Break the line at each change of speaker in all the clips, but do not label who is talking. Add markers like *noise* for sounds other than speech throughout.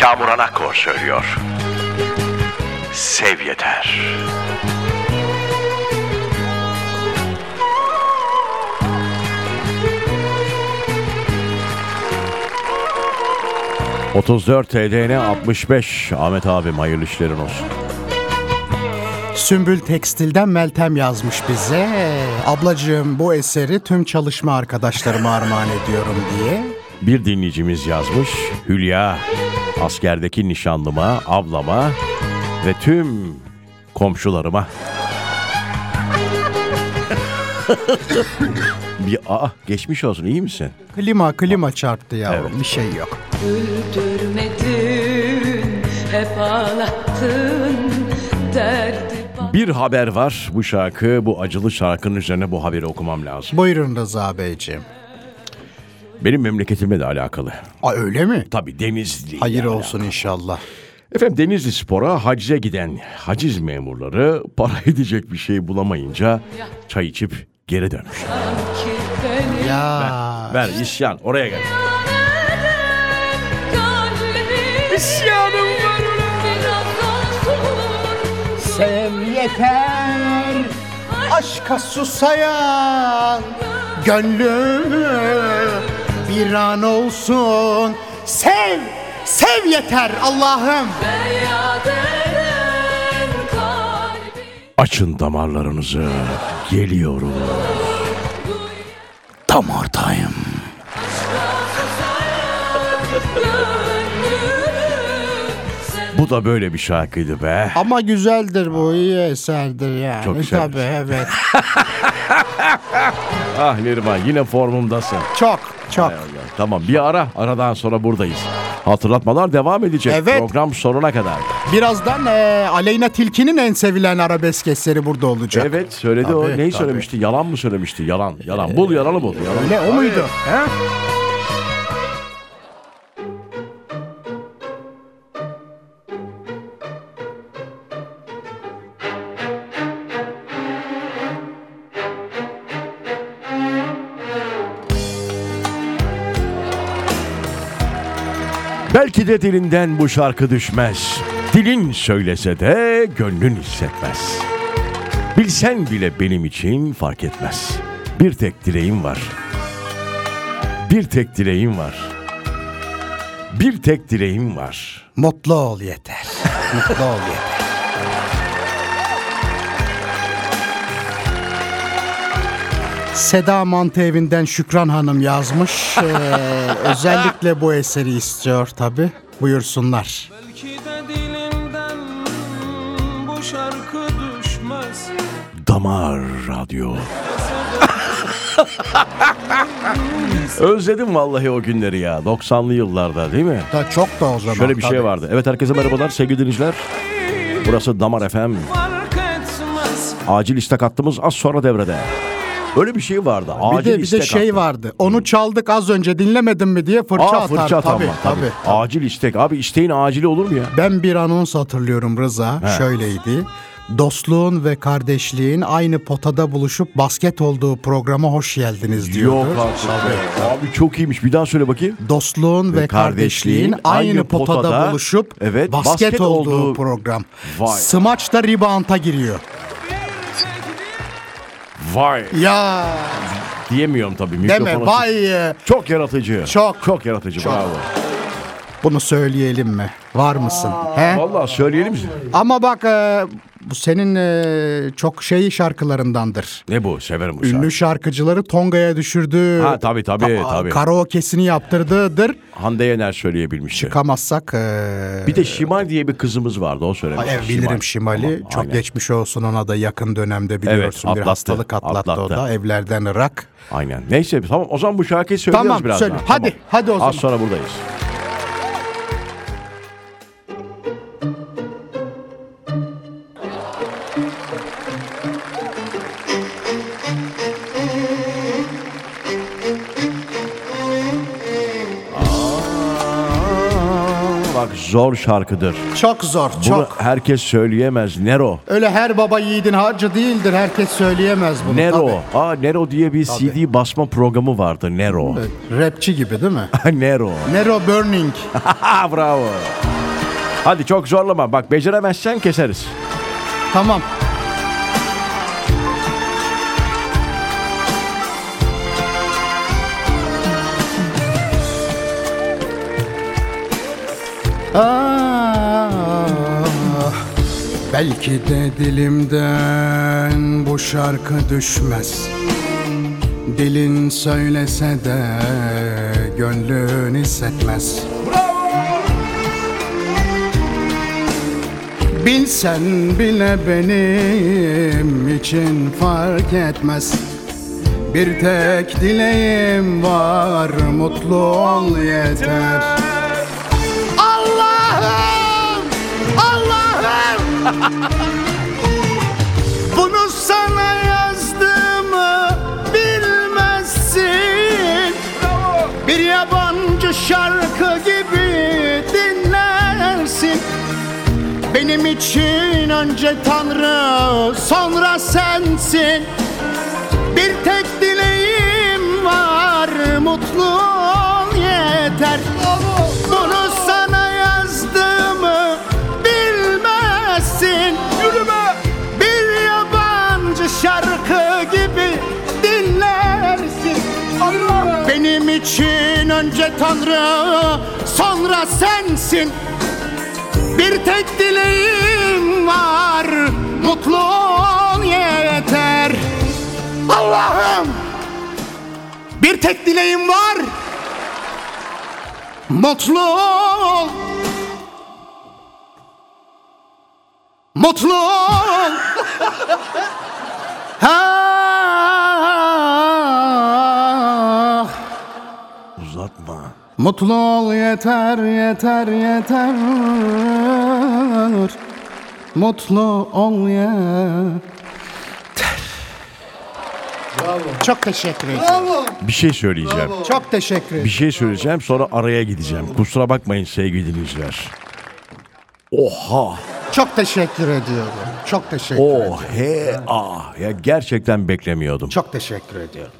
Kamuran Akkor söylüyor. Sev yeter. ...34 TDN 65... ...Ahmet abim hayırlı işlerin olsun.
Sümbül Tekstil'den Meltem yazmış bize. Ablacığım bu eseri tüm çalışma arkadaşlarıma armağan ediyorum diye.
Bir dinleyicimiz yazmış. Hülya, askerdeki nişanlıma, ablama ve tüm komşularıma. *laughs* bir aa geçmiş olsun iyi misin?
Klima klima çarptı yavrum
Evet.
bir şey yok.
Güldürmedin, hep ağlattın derdi bana.
Bir haber var bu şarkı bu acılı şarkının üzerine bu haberi okumam lazım.
Buyurun Rıza Beyciğim.
Benim memleketimle de alakalı.
Aa öyle mi?
Tabii Denizli.
Hayır
yani.
olsun inşallah.
Efendim Denizli Spor'a hacize giden haciz memurları para *laughs* edecek bir şey bulamayınca çay içip geri dönmüş.
Sanki beni
Ya
Ver isyan oraya gel.
neden kalbim İsyanım var Biraz olsun
sev yeter aşka susayan gönlümü bir an olsun sev sev yeter Allah'ım.
Feryat eden kalbim
Açın damarlarınızı. Geliyorum. Tam ortayım.
Gönlümü
Bu da böyle bir şarkıydı be.
Ama güzeldir bu iyi eserdir yani.
Çok güzeldir.
Tabii evet.
Ah Neriman yine formumdasın.
Çok çok.
Tamam bir ara. Aradan sonra buradayız. Hatırlatmalar devam edecek.
Evet.
Program sonuna kadar.
Birazdan eee, Aleyna Tilki'nin en sevilen arabesk eseri burada olacak.
Evet söyledi o.
Tabii,
Neyi
tabii.
söylemişti? Yalan mı söylemişti? Yalan. Yalan. Bul yalanı bul. Yalan.
Ne o muydu?
Belki de dilinden bu şarkı düşmez. Dilin söylese de gönlün hissetmez. Bilsen bile benim için fark etmez. Bir tek dileğim var. Bir tek dileğim var. Bir tek dileğim var.
Mutlu ol yeter. Mutlu ol yeter. Seda Mantı evinden Şükran Hanım yazmış. Eee, özellikle bu eseri istiyor tabi. Buyursunlar.
Belki de dilinden bu şarkı düşmez
Damar Radyo. *laughs* Özledim vallahi o günleri ya. 90'lı yıllarda değil mi?
Da çok da o zaman.
Şöyle bir şey
Ah, tabii.
vardı. Evet herkese merhabalar sevgili dinleyiciler. Burası Damar FM.
Fark etmez
Acil istek hattımız az sonra devrede. Öyle bir şey vardı. Acil
Bir de bir de
istek
şey
hattı.
vardı. Onu çaldık az önce dinlemedin mi diye fırça
Aa,
atar.
fırça atan
tabii,
var, tabii.
tabii.
Acil istek. Abi isteğin acili olur mu ya?
Ben bir anons hatırlıyorum Rıza. Şöyleydi. Dostluğun ve kardeşliğin aynı potada buluşup basket olduğu programa hoş geldiniz diyordu.
Yok artık. Abi çok iyiymiş. Bir daha söyle bakayım.
Dostluğun ve kardeşliğin aynı potada, buluşup
evet,
basket,
basket
olduğu,
olduğu-
program.
Vay.
Smaç da rebound'a giriyor.
Vay.
Ya
Diyemiyorum tabii.
deme
Mikrofona-
vay.
Çok yaratıcı.
Çok.
Çok yaratıcı. Bravo.
Bunu söyleyelim mi? Var mısın? He?
Vallahi söyleyelim mi?
Ama bak e, bu senin e, çok şey şarkılarındandır.
Ne bu? Severim bu
Ünlü
şarkıyı.
şarkıcıları Tonga'ya düşürdü.
Ha tabii tabii
Aa,
tabii.
Karaoke'sini yaptırdığıdır.
Hande Yener söyleyebilmişti.
Kamazsak eee,
Bir de Şimal diye bir kızımız vardı o söylemiş.
ay, evet, bilirim Şimali.
Tamam,
Çok
aynen.
geçmiş olsun ona da yakın dönemde biliyorsun bir
atlattı,
hastalık atlattı, o
atlattı.
da evlerden ırak.
Aynen. Neyse tamam o zaman bu şarkıyı söylüyoruz
Tamam,
birazdan.
söyle. Hadi, hadi o zaman.
Az sonra buradayız. Aa, Bak zor şarkıdır.
Çok zor,
Bunu
çok.
herkes söyleyemez. Nero.
Öyle her baba yiğidin harcı değildir. Herkes söyleyemez bunu.
Nero. Aa Nero diye bir CD basma programı vardı. Nero.
Tabii. Rapçi gibi değil mi?
*laughs* Nero.
Nero Burning.
Bravo. Hadi çok zorlama. Bak beceremezsen keseriz.
tamam. Ah, Belki de dilimden bu şarkı düşmez Dilin söylese de gönlün hissetmez Bilsen bile benim için fark etmez Bir tek dileğim var mutlu ol yeter Allah'ım Allah'ım *laughs* Bunu sana yazdığımı bilmezsin Bir yabancı şarkı gibi dinlersin benim için önce Tanrı sonra sensin Bir tek dileğim var mutlu ol yeter Bunu sana yazdığımı bilmezsin Yürüme Bir yabancı şarkı gibi dinlersin Benim için önce Tanrı sonra sensin bir tek dileğim var Mutlu ol yeter Allah'ım Bir tek dileğim var Mutlu ol Mutlu ol *laughs* ha.
Uzatma.
Mutlu ol yeter yeter yeter Mutlu ol yeter Bravo. Çok teşekkür ederim.
Bir şey söyleyeceğim.
Çok teşekkür
Bir
ederim.
şey söyleyeceğim sonra araya gideceğim. Kusura bakmayın sevgili dinleyiciler. Oha.
Çok teşekkür ediyorum. Çok teşekkür ederim.
O he a. Ya gerçekten beklemiyordum.
Çok teşekkür ediyorum.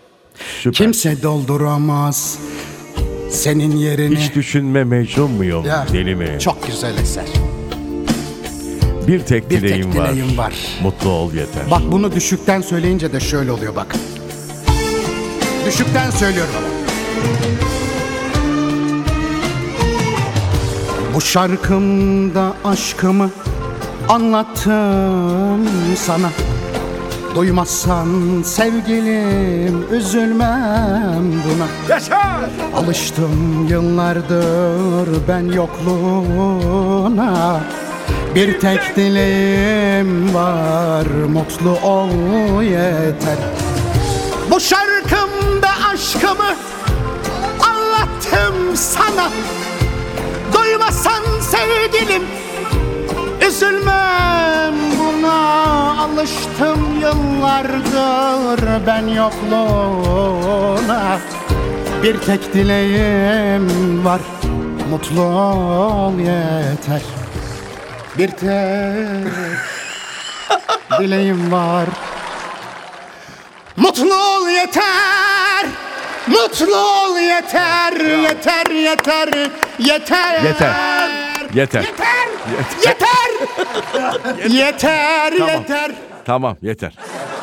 Süper.
Kimse dolduramaz senin yerini.
Hiç düşünme Mecnun muyum?
Ya,
Deli mi?
Çok güzel eser.
Bir tek
Bir tek
dileğim, var.
dileğim var.
Mutlu ol yeter.
Bak bunu düşükten söyleyince de şöyle oluyor bak. Düşükten söylüyorum. Bu şarkımda aşkımı anlattım sana. Duymazsan sevgilim üzülmem buna. Alıştım yıllardır ben yokluğuna Bir tek dileğim var mutlu ol yeter Bu şarkımda aşkımı anlattım sana Duymasan sevgilim Üzülmem buna alıştım yıllardır ben yokluğuna bir tek dileğim var Mutlu ol yeter Bir tek dileğim var Mutlu ol yeter Mutlu ol yeter Yeter yeter Yeter
Yeter. Yeter.
Yeter
*laughs*
Yeter
Tamam.
yeter
Tamam yeter.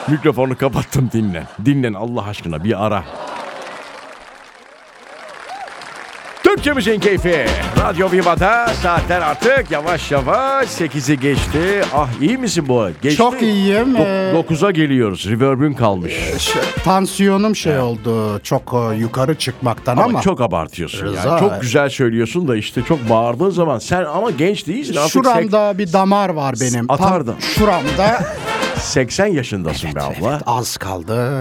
Mikrofonu kapattım dinlen. Dinlen Allah aşkına bir ara. Türkçe Müziğin Keyfi. Radyo Viva'da saatler artık yavaş yavaş 8'i geçti. Ah iyi misin bu? Geçti.
Çok iyiyim. E, Ee,
9'a geliyoruz. Reverb'ün kalmış.
Tansiyonum şey oldu çok e, yukarı çıkmaktan
Ama
ama
çok abartıyorsun
Rıza.
yani. Çok güzel söylüyorsun da işte çok bağırdığın zaman sen ama genç değilsin. Artık sek-
Şuramda bir damar var benim. Tam
Atardım. *laughs*
şuramda
80 yaşındasın be abla.
az kaldı.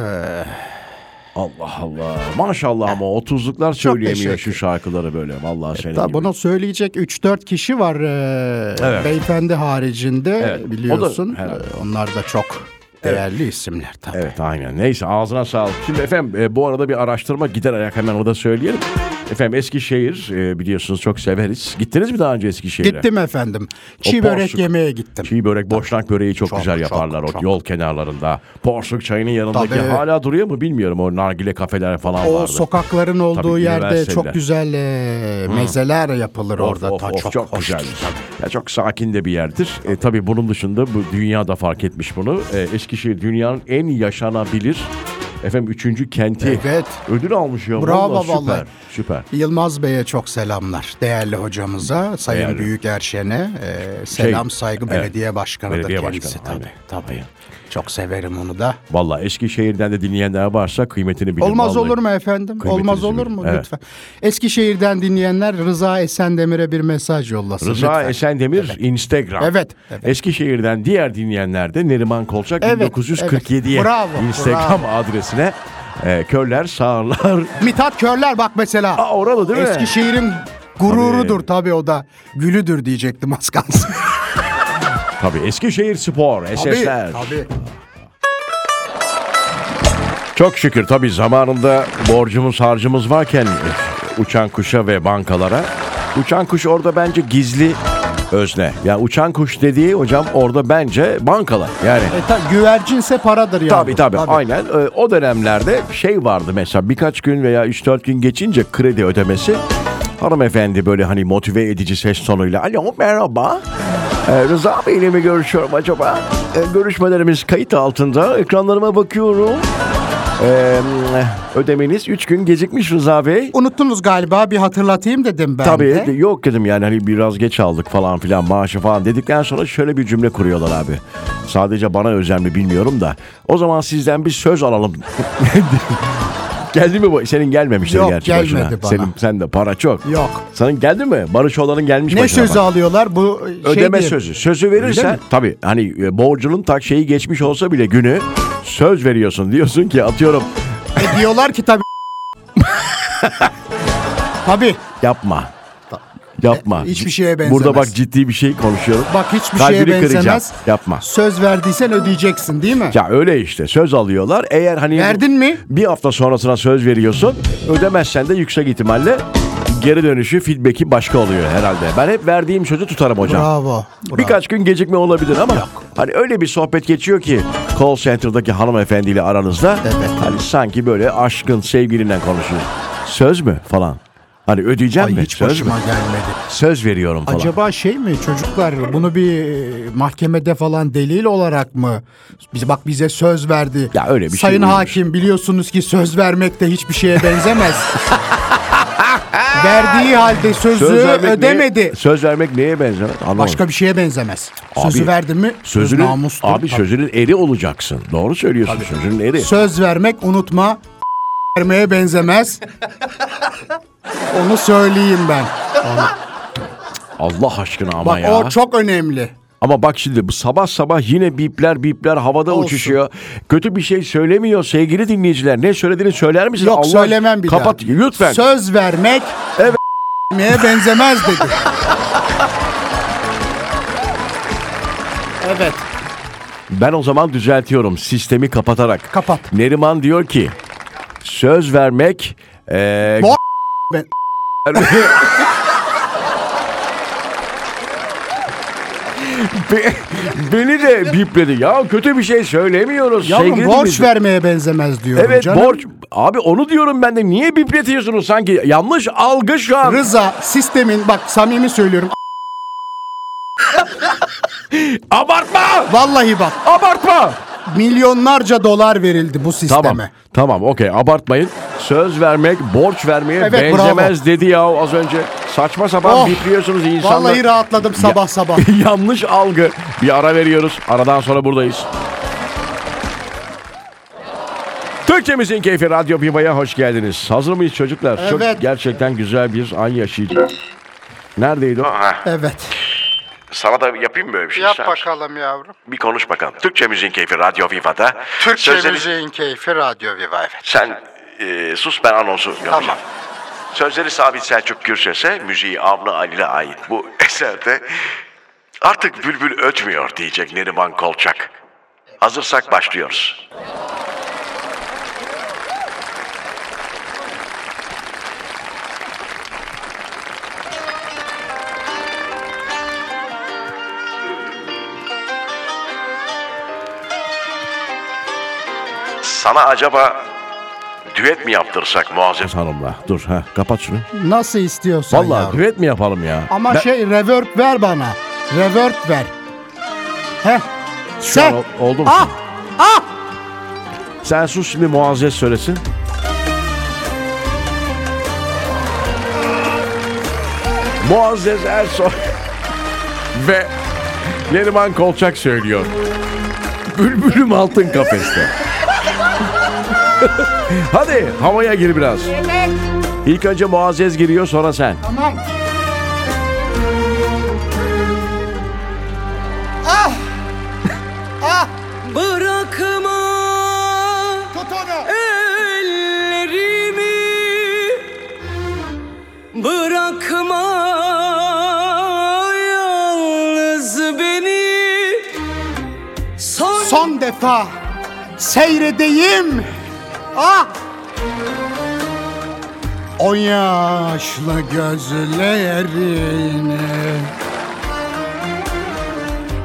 Allah Allah. Maşallah ama 30'luklar söyleyemiyor
teşekkür.
şu şarkıları böyle. Vallahi senin
Da
gibi.
bunu söyleyecek 3-4 kişi var e,
Evet.
beyefendi haricinde
Evet.
biliyorsun.
O da- evet.
E, Onlar da çok değerli isimler tabii.
Evet aynen. Neyse ağzına sağlık. Şimdi efendim e, bu arada bir araştırma gider ayak hemen orada söyleyelim. Efendim Eskişehir e, biliyorsunuz çok severiz. Gittiniz mi daha önce Eskişehir'e?
Gittim efendim.
O
Çiğ börek
porsuk.
yemeye gittim.
Çiğ börek, boşnak böreği çok,
Çok,
güzel
çok,
yaparlar o
çok.
yol kenarlarında. Porsuk çayının yanındaki
Tabii.
hala duruyor mu bilmiyorum o nargile kafeler falan
O
vardı.
sokakların olduğu
Tabii,
yerde
üniversiteler.
çok güzel e, mezeler yapılır
Of,
orada.
of,
Ta-
of, çok,
hoş.
güzel. Ya çok sakin de bir yerdir. E, tabii bunun dışında bu dünya da fark etmiş bunu. E, Eskişehir dünyanın en yaşanabilir efendim üçüncü kenti.
Evet.
Ödül almış ya.
Bravo
süper,
vallahi.
Süper.
Yılmaz Bey'e çok selamlar. Değerli hocamıza, Sayın
Değerli.
Büyük Erşen'e e, selam
Şey,
saygı
evet.
belediye başkanıdır
Belediye
kendisi.
başkanı,
tabii,
aynen,
tabii.
aynen.
Çok severim onu da.
Valla Eskişehir'den de dinleyenler varsa kıymetini bilin.
Olmaz
vallahi.
olur mu efendim?
Kıymetinizi
Olmaz olur
bilin.
mu?
Evet.
Lütfen. Eskişehir'den dinleyenler Rıza Esendemir'e bir mesaj yollasın.
Rıza
lütfen.
Esendemir Instagram.
Evet, evet.
Eskişehir'den diğer dinleyenler de Neriman Kolçak
Evet,
1947'ye
evet. Bravo,
Instagram adresine e, körler sağırlar.
Mithat Körler bak mesela.
Aa, oralı değil mi?
Eskişehir'in gururudur tabii. o da. Gülüdür diyecektim az kalsın.
Tabii Eskişehir Spor,
Tabii,
SS'ler.
tabii.
Çok şükür tabii zamanında borcumuz harcımız varken e, uçan kuşa ve bankalara. Uçan kuş orada bence gizli özne. Ya uçan kuş dediği hocam orada bence bankalar. Yani
E, ta- güvercinse paradır yani.
Tabii tabii, aynen. Ee, O dönemlerde şey vardı mesela birkaç gün veya 3-4 gün geçince kredi ödemesi. Hanımefendi böyle hani motive edici ses tonuyla alo merhaba. Ee, Rıza Bey ile mi görüşüyorum acaba? Ee, görüşmelerimiz kayıt altında. Ekranlarıma bakıyorum. Ee, ödemeniz 3 gün gecikmiş Rıza Bey.
Unuttunuz galiba bir hatırlatayım dedim ben
Tabii
de.
yok dedim yani hani biraz geç aldık falan filan maaşı falan dedikten sonra şöyle bir cümle kuruyorlar abi. Sadece bana özel mi bilmiyorum da o zaman sizden bir söz alalım. *laughs* geldi mi bu? Senin gelmemiştir
Yok,
gerçi
gelmedi
başına.
bana.
Senin, sen de para çok.
Yok.
Senin geldi mi? Barış olanın gelmiş
Ne
başına
sözü
bak.
alıyorlar bu şey
Ödeme
diye-
sözü. Sözü verirsen
mi?
tabii hani e, borcunun tak şeyi geçmiş olsa bile günü söz veriyorsun. Diyorsun ki atıyorum
E, diyorlar ki tabii. tabii.
yapma. Yapma.
E, hiçbir şeye
Burada bak
benzemez.
ciddi bir şey konuşuyorum.
Bak hiçbir şeye
Kalbini
benzemez.
kıracağım. Yapma.
Söz verdiysen ödeyeceksin değil mi?
Ya öyle işte söz alıyorlar. Eğer hani
Verdin mi?
bir hafta sonrasına söz veriyorsun. Ödemezsen de yüksek ihtimalle geri dönüşü feedback'i başka oluyor herhalde. Ben hep verdiğim sözü tutarım hocam.
Bravo. bravo.
Birkaç gün gecikme olabilir ama hani öyle bir sohbet geçiyor ki call center'daki hanımefendiyle aranızda
Evet.
hani sanki böyle aşkın sevgilinden konuşuyor. Söz mü falan. Hani ödeyeceğim
Ay
mi?
hiç
Söz mü?
başıma gelmedi.
Söz veriyorum falan.
Acaba şey mi çocuklar bunu bir e, mahkemede falan delil olarak mı? Biz bak bize söz verdi.
Ya öyle bir şey
Sayın
olmuş.
hakim biliyorsunuz ki söz vermek de hiçbir şeye
*laughs*
benzemez. Verdiği halde sözü ödemedi.
Neye, söz vermek neye benzer? Anlamadım.
Başka bir şeye benzemez.
Abi,
Sözü verdin mi?
Sözünün,
namustur.
abi sözünün eri olacaksın. Doğru söylüyorsun sözünün eri.
Söz vermek unutma vermeye
*laughs*
benzemez. Onu söyleyeyim ben.
Allah aşkına ama
Bak
ya.
o çok önemli.
Ama bak şimdi bu sabah sabah yine bipler bipler havada
Olsun.
uçuşuyor. Kötü bir şey söylemiyor sevgili dinleyiciler. Ne söylediğini söyler misin?
Yok
Allah-
söylemem bir
Kapat
daha.
lütfen.
Söz vermek
Evet.
vermeye benzemez
*laughs*
dedi. evet.
Ben o zaman düzeltiyorum sistemi kapatarak.
Kapat.
Neriman diyor ki söz vermek e, eee
Bo- Ben
*laughs* be- beni de bipledi. Ya kötü bir şey söylemiyoruz.
yavrum
sevgili
borç
dinleyiciler.
vermeye benzemez diyorum
Evet
canım.
borç. Abi onu diyorum ben de. Niye bipletiyorsunuz sanki? Yanlış algı şu an.
Rıza sistemin bak samimi söylüyorum.
Abartma!
Vallahi bak
Abartma!
milyonlarca dolar verildi bu sisteme.
Tamam. Tamam okey abartmayın. Söz vermek borç vermeye
Evet,
benzemez dedi ya az önce. Saçma sapan
Oh!
bitiriyorsunuz insanları.
Vallahi rahatladım sabah sabah. *laughs*
*laughs* Yanlış algı. Bir ara veriyoruz. Aradan sonra buradayız. Türkçemizin keyfi Radyo Viva'ya hoş geldiniz. Hazır mıyız çocuklar?
Evet.
Çok gerçekten güzel bir an yaşayacağız. Neredeydi o?
Evet.
Sana da yapayım mı böyle bir şey?
Yap bakalım yavrum.
Bir konuş bakalım. Türkçe Müziğin Keyfi Radyo Viva'da.
Türkçe
Sözleri-
müziğin keyfi Radyo Viva evet.
Sen e, sus ben anonsu yapacağım.
Tamam.
Sözleri Sabit Selçuk Gürses'e, müziği Avni Ali'ne ait bu *laughs* eserde artık bülbül ötmüyor diyecek Neriman Kolçak. Hazırsak başlıyoruz. Sana acaba düet mi yaptırsak Muazzez Hanım'la? Dur ha kapat şunu.
Nasıl istiyorsan
Vallahi
yavrum.
düet mi yapalım ya?
Ama
Ben-
şey reverb ver bana. Reverb ver. Heh. Sen.
an ol- oldu mu
Ah. Ah.
Sen sus şimdi Muazzez söylesin. Muazzez Ersoy *laughs* ve Neriman Kolçak söylüyor. Bülbülüm altın kafeste. *laughs* Hadi havaya gir biraz. İlk önce Muazzez giriyor sonra sen.
Tamam.
Bırakma
Tut onu.
ellerimi Bırakma yalnız beni Son,
Son defa seyredeyim. Ah! O yaşlı gözlerini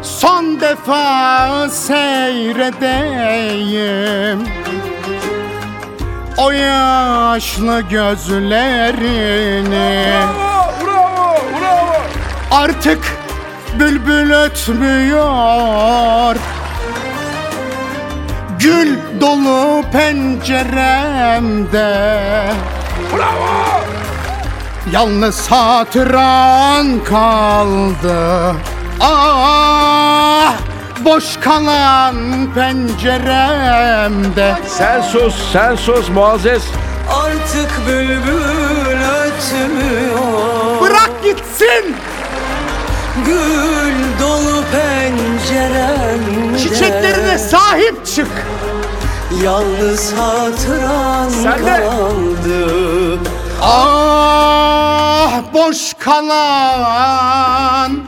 Son defa seyredeyim O yaşlı gözlerini Artık bülbül ötmüyor Gül dolu penceremde Yalnız hatıran kaldı Ah boş kalan penceremde
Sen sus, sen sus Muazzez.
Artık bülbül ötmüyor
Bırak gitsin
Gül dolu penceremde
çiçeklerine sahip çık
Yalnız hatıran
Sen de.
kaldı
Ah boş kalan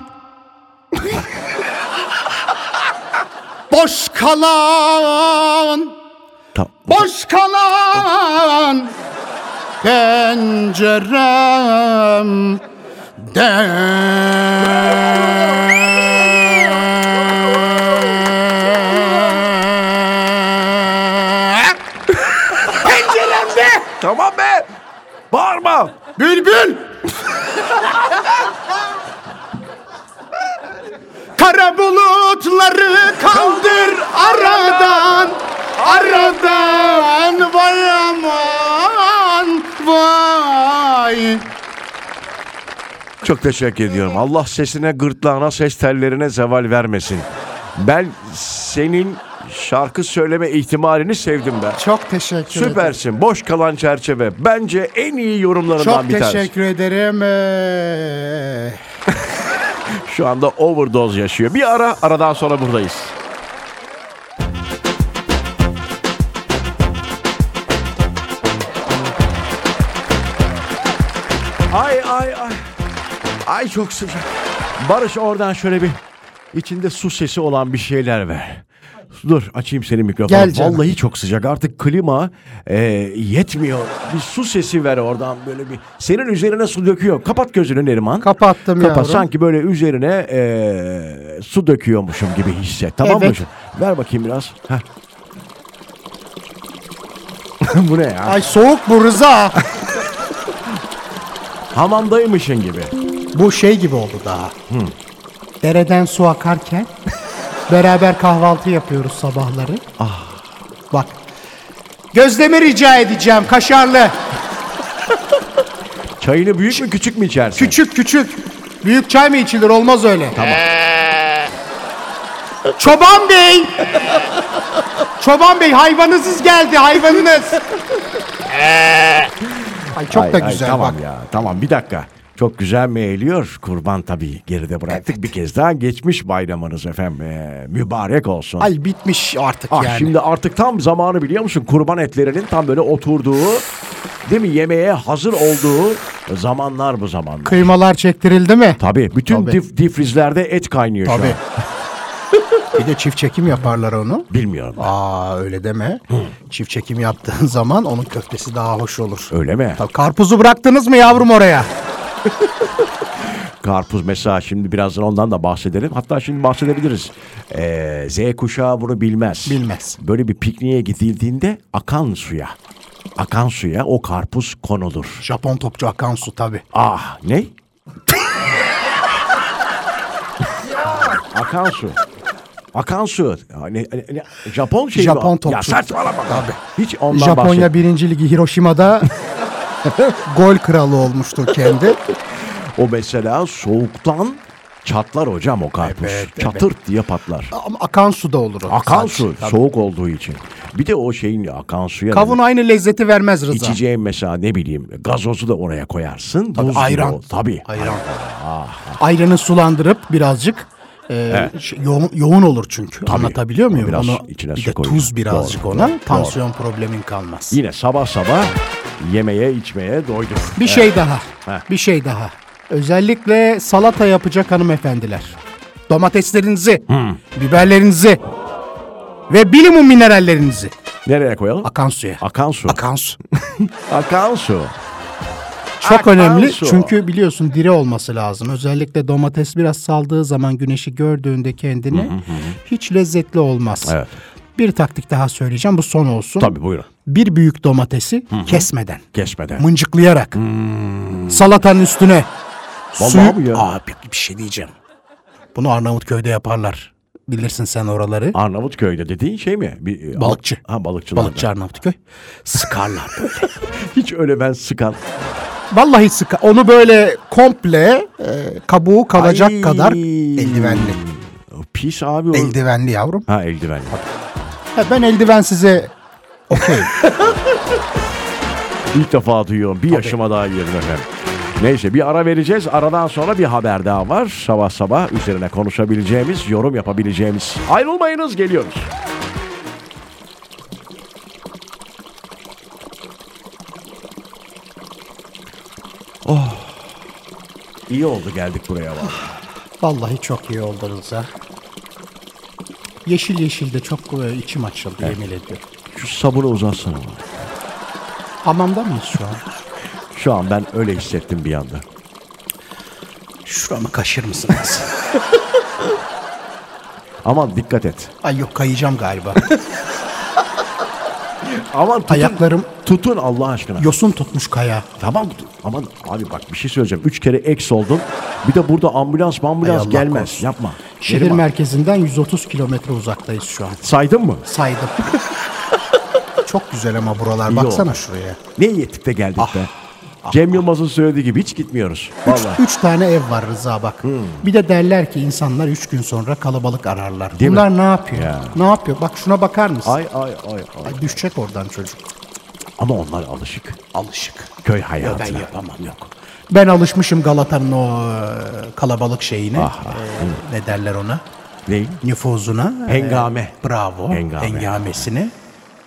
Boş kalan
Tamam.
Boş kalan pencerem de. Penceremde
Tamam be. Bağırma.
bülbül. Kara bulutları kaldır aradan. Aradan vay aman vay.
Çok teşekkür ediyorum. Allah sesine, gırtlağına, ses tellerine zeval vermesin. Ben senin şarkı söyleme ihtimalini sevdim ben.
Çok teşekkür ederim.
Süpersin. Boş kalan çerçeve. Bence en iyi yorumlarından
Çok
bir tanesi.
teşekkür ederim. Ee,
Şu anda overdose yaşıyor. Bir ara, aradan sonra buradayız. Ay ay ay. Ay çok sıcak. Barış oradan şöyle bir içinde su sesi olan bir şeyler ver. Dur açayım senin mikrofonu.
Gel canım.
Vallahi çok sıcak. Artık klima e, yetmiyor. Bir su sesi ver oradan böyle bir. Senin üzerine su döküyor. Kapat gözünü Neriman.
Kapattım
Kapat.
yavrum.
Sanki böyle üzerine e, su döküyormuşum gibi hisset. Tamam mı?
Evet.
hocam? Ver bakayım biraz. Heh. *laughs* Bu ne ya?
Ay soğuk bu Rıza.
Hamamdaymışın gibi.
bu şey gibi oldu daha.
Hmm.
Dereden su akarken beraber kahvaltı yapıyoruz sabahları. Ah. Bak. Gözleme rica edeceğim kaşarlı.
Çayını büyük mü küçük mü içersin?
Küçük küçük. Büyük çay mı içilir? Olmaz öyle. Tamam. Çoban Bey! Çoban Bey hayvanınız geldi hayvanınız. Ay çok
Ay,
da
ay,
güzel
tamam
bak.
ya tamam bir dakika. Çok güzel mi eğiliyor? Kurban tabii geride bıraktık. Bir kez daha geçmiş bayramınız efendim. Ee, mübarek olsun.
Ay bitmiş artık
ah,
yani.
Şimdi artık tam zamanı biliyor musun? Kurban etlerinin tam böyle oturduğu, değil mi? Yemeğe hazır olduğu zamanlar bu zamanlar.
Kıymalar çektirildi mi?
Tabii. Bütün
Tabii.
dif- difrizlerde et kaynıyor şu an.
Tabii. *laughs* Bir de çift çekim yaparlar onu.
Bilmiyorum.
Aa öyle deme. Çift çekim *laughs* yaptığın zaman onun köftesi daha hoş olur.
Öyle mi?
Tabii, karpuzu bıraktınız mı yavrum oraya?
Karpuz mesela şimdi birazdan ondan da bahsedelim. Hatta şimdi bahsedebiliriz. Ee, Z kuşağı bunu bilmez.
Bilmez.
Böyle bir pikniğe gidildiğinde akan suya. Akan suya o karpuz konulur.
Japon topçu Akansu tabi.
Ah ne? akan su. Akan su. Ya ne- ne- ne- Japon şeyi mi?
Japon topçu.
Ya saçmalama.
Tabii.
Hiç ondan bahset-
Japonya 1. Ligi
*laughs*
Hiroşima'da gol kralı olmuştu kendi.
O mesela soğuktan çatlar hocam o karpuz.
Evet, evet.
Çatırt diye patlar.
Ama akan su da olur. o.
Akan
Saç.
su
Tabii.
soğuk olduğu için. Bir de o şeyin akan suya
Kavun aynı lezzeti vermez Rıza.
içeceğin mesela ne bileyim gazozu da oraya koyarsın. buz gibi
ayran.
o. Tabii. Ah.
Ayran. Ayranı sulandırıp birazcık e, şey, yoğun, yoğun olur çünkü. Anlatabiliyor muyum?
Biraz
Onu,
içine
bir
su
de
koyuyor.
tuz birazcık
Doğru,
ona.
doğru,
Tansiyon problemin kalmaz.
Yine sabah sabah yemeye içmeye doydum.
Bir şey daha.
Heh.
Bir şey daha. Özellikle salata yapacak hanımefendiler. Domateslerinizi,
Hmm.
biberlerinizi ve minimum minerallerinizi
Nereye koyalım?
akan suya.
akan su.
Akan su.
akan su.
Çok
Akan
önemli
su.
çünkü biliyorsun diri olması lazım. Özellikle domates biraz saldığı zaman güneşi gördüğünde kendini hiç lezzetli olmaz.
Evet.
Bir taktik daha söyleyeceğim bu son olsun.
Tabii buyurun.
Bir büyük domatesi kesmeden,
Kesmeden.
mıncıklayarak salatanın üstüne
Hmm. Vallahi
suyu-
mi ya?
Abi bir şey diyeceğim. Bunu Arnavutköy'de yaparlar. Bilirsin sen oraları.
Arnavutköy'de dediğin şey mi? Bir,
Balıkçı.
Ha balıkçılar.
Balıkçı Arnavutköy. Sıkarlar böyle.
Hiç öyle ben sıkan.
*laughs* Vallahi sıkar. Onu böyle komple e, kabuğu kalacak
Ay.
kadar eldivenli.
Pis abi o.
Eldivenli yavrum.
Ha eldiven.
Ha, ben eldiven size okey.
İlk defa duyuyorum. Bir yaşıma daha girdim efendim. Neyse bir ara vereceğiz. Aradan sonra bir haber daha var. Sabah sabah üzerine konuşabileceğimiz, yorum yapabileceğimiz. Ayrılmayınız geliyoruz. Oh. İyi oldu geldik buraya bak.
Vallahi çok iyi oldu Rıza. Yeşil yeşil de çok e, içim açıldı yemin ediyorum.
Şu sabunu uzatsana bana.
Hamamda mıyız şu an?
Şu an ben öyle hissettim bir anda.
Şuramı kaşır mısınız?
Aman dikkat et.
*laughs* Ay yok kayacağım galiba.
Aman tutun,
Ayaklarım
tutun Allah aşkına.
yosun tutmuş kaya.
Tamam aman abi bak bir şey söyleyeceğim. Üç kere eks oldun. Bir de burada ambulans ambulans
Ay Allah
gelmez.
korusun.
Yapma.
Şehir
Benim-
merkezinden 130 kilometre uzaktayız şu an.
Saydın mı? *laughs*
Saydım. çok güzel ama buralar.
İyi
Baksana
oldu.
şuraya.
Ne iyi ettik de geldik
Ah,
be. Cem Yılmaz'ın söylediği gibi hiç gitmiyoruz. Vallahi. Hmm.
Üç tane ev var Rıza bak. Bir de derler ki insanlar üç gün sonra kalabalık ararlar.
Değil mi?
Bunlar ne yapıyor?
Ya.
Ne yapıyor? Bak şuna bakar mısın?
ay ay ay ay.
Ay, düşecek oradan çocuk.
Ama onlar alışık.
Alışık.
Köy hayatına.
ben yapamam yok. Ben alışmışım Galata'nın o e, kalabalık şeyine.
Ah,
E, ne derler ona?
Değil.
Nüfuzuna. E,
Hengame.
bravo.
Hengame.
Hengamesini.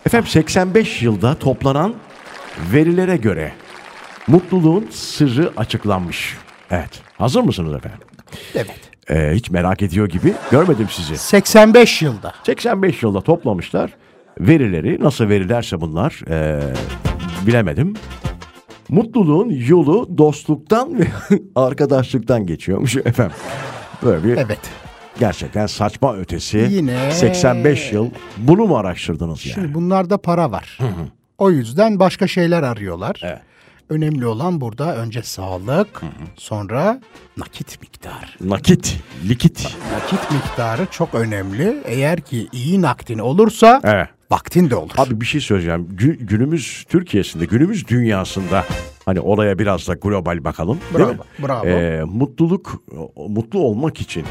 Efendim 85 yılda toplanan verilere göre mutluluğun sırrı açıklanmış. Evet. Hazır mısınız efendim?
Evet.
Ee, hiç merak ediyor gibi görmedim sizi.
85 yılda.
85 yılda toplamışlar verileri. Nasıl verilerse bunlar eee, bilemedim. Mutluluğun yolu dostluktan ve *laughs* arkadaşlıktan geçiyormuş efendim. Böyle bir
Evet.
gerçekten saçma ötesi
Yine-
85 yıl. Bunu mu araştırdınız yani?
Şimdi bunlarda para var. O yüzden başka şeyler arıyorlar.
Evet.
Önemli olan burada önce sağlık, sonra nakit miktarı.
Nakit, likit.
Nakit miktarı çok önemli. Eğer ki iyi nakdin olursa
Evet.
vaktin de olur.
Abi bir şey söyleyeceğim. Gü- günümüz Türkiye'sinde, günümüz dünyasında hani olaya biraz da global bakalım. değil
Bravo,
mi?
bravo.
Ee, mutluluk, o- mutlu olmak için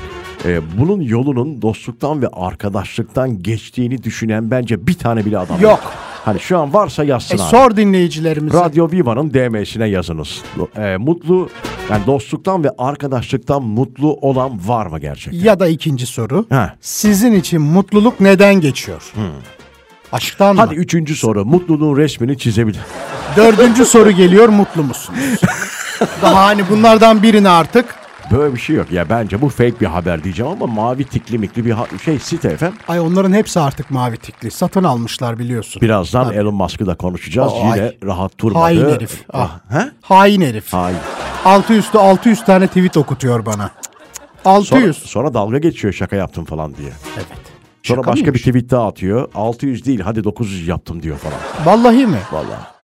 e, bunun yolunun dostluktan ve arkadaşlıktan geçtiğini düşünen bence bir tane bile adam
Yok.
Hani şu an varsa yazsın
E,
abi.
sor dinleyicilerimize.
Radyo Viva'nın DM'sine yazınız. Ee, mutlu, yani dostluktan ve arkadaşlıktan mutlu olan var mı gerçekten?
Ya da ikinci soru.
Ha.
Sizin için mutluluk neden geçiyor? Aşktan
Hadi
mı?
üçüncü soru. Mutluluğun resmini çizebilir.
Dördüncü soru geliyor mutlu
*laughs*
musunuz? Daha hani bunlardan birini artık.
Böyle bir şey yok. Ya bence bu fake bir haber diyeceğim ama mavi tikli mikli bir ha- şey site efendim.
Ay onların hepsi artık mavi tikli. Satın almışlar biliyorsun.
Birazdan Elon Musk'ı da konuşacağız.
Aa,
Yine
ay.
rahat durmadı.
Hain herif. Ah.
Ha?
Hain herif.
Hain.
Altı üstü 600 tane tweet okutuyor bana.
Sonra,
600.
sonra dalga geçiyor şaka yaptım falan diye.
Evet.
Sonra
Şaka
başka
mıymış?
bir tweet daha atıyor. 600 değil hadi 900 yaptım diyor falan.
Vallahi mi?
Vallahi.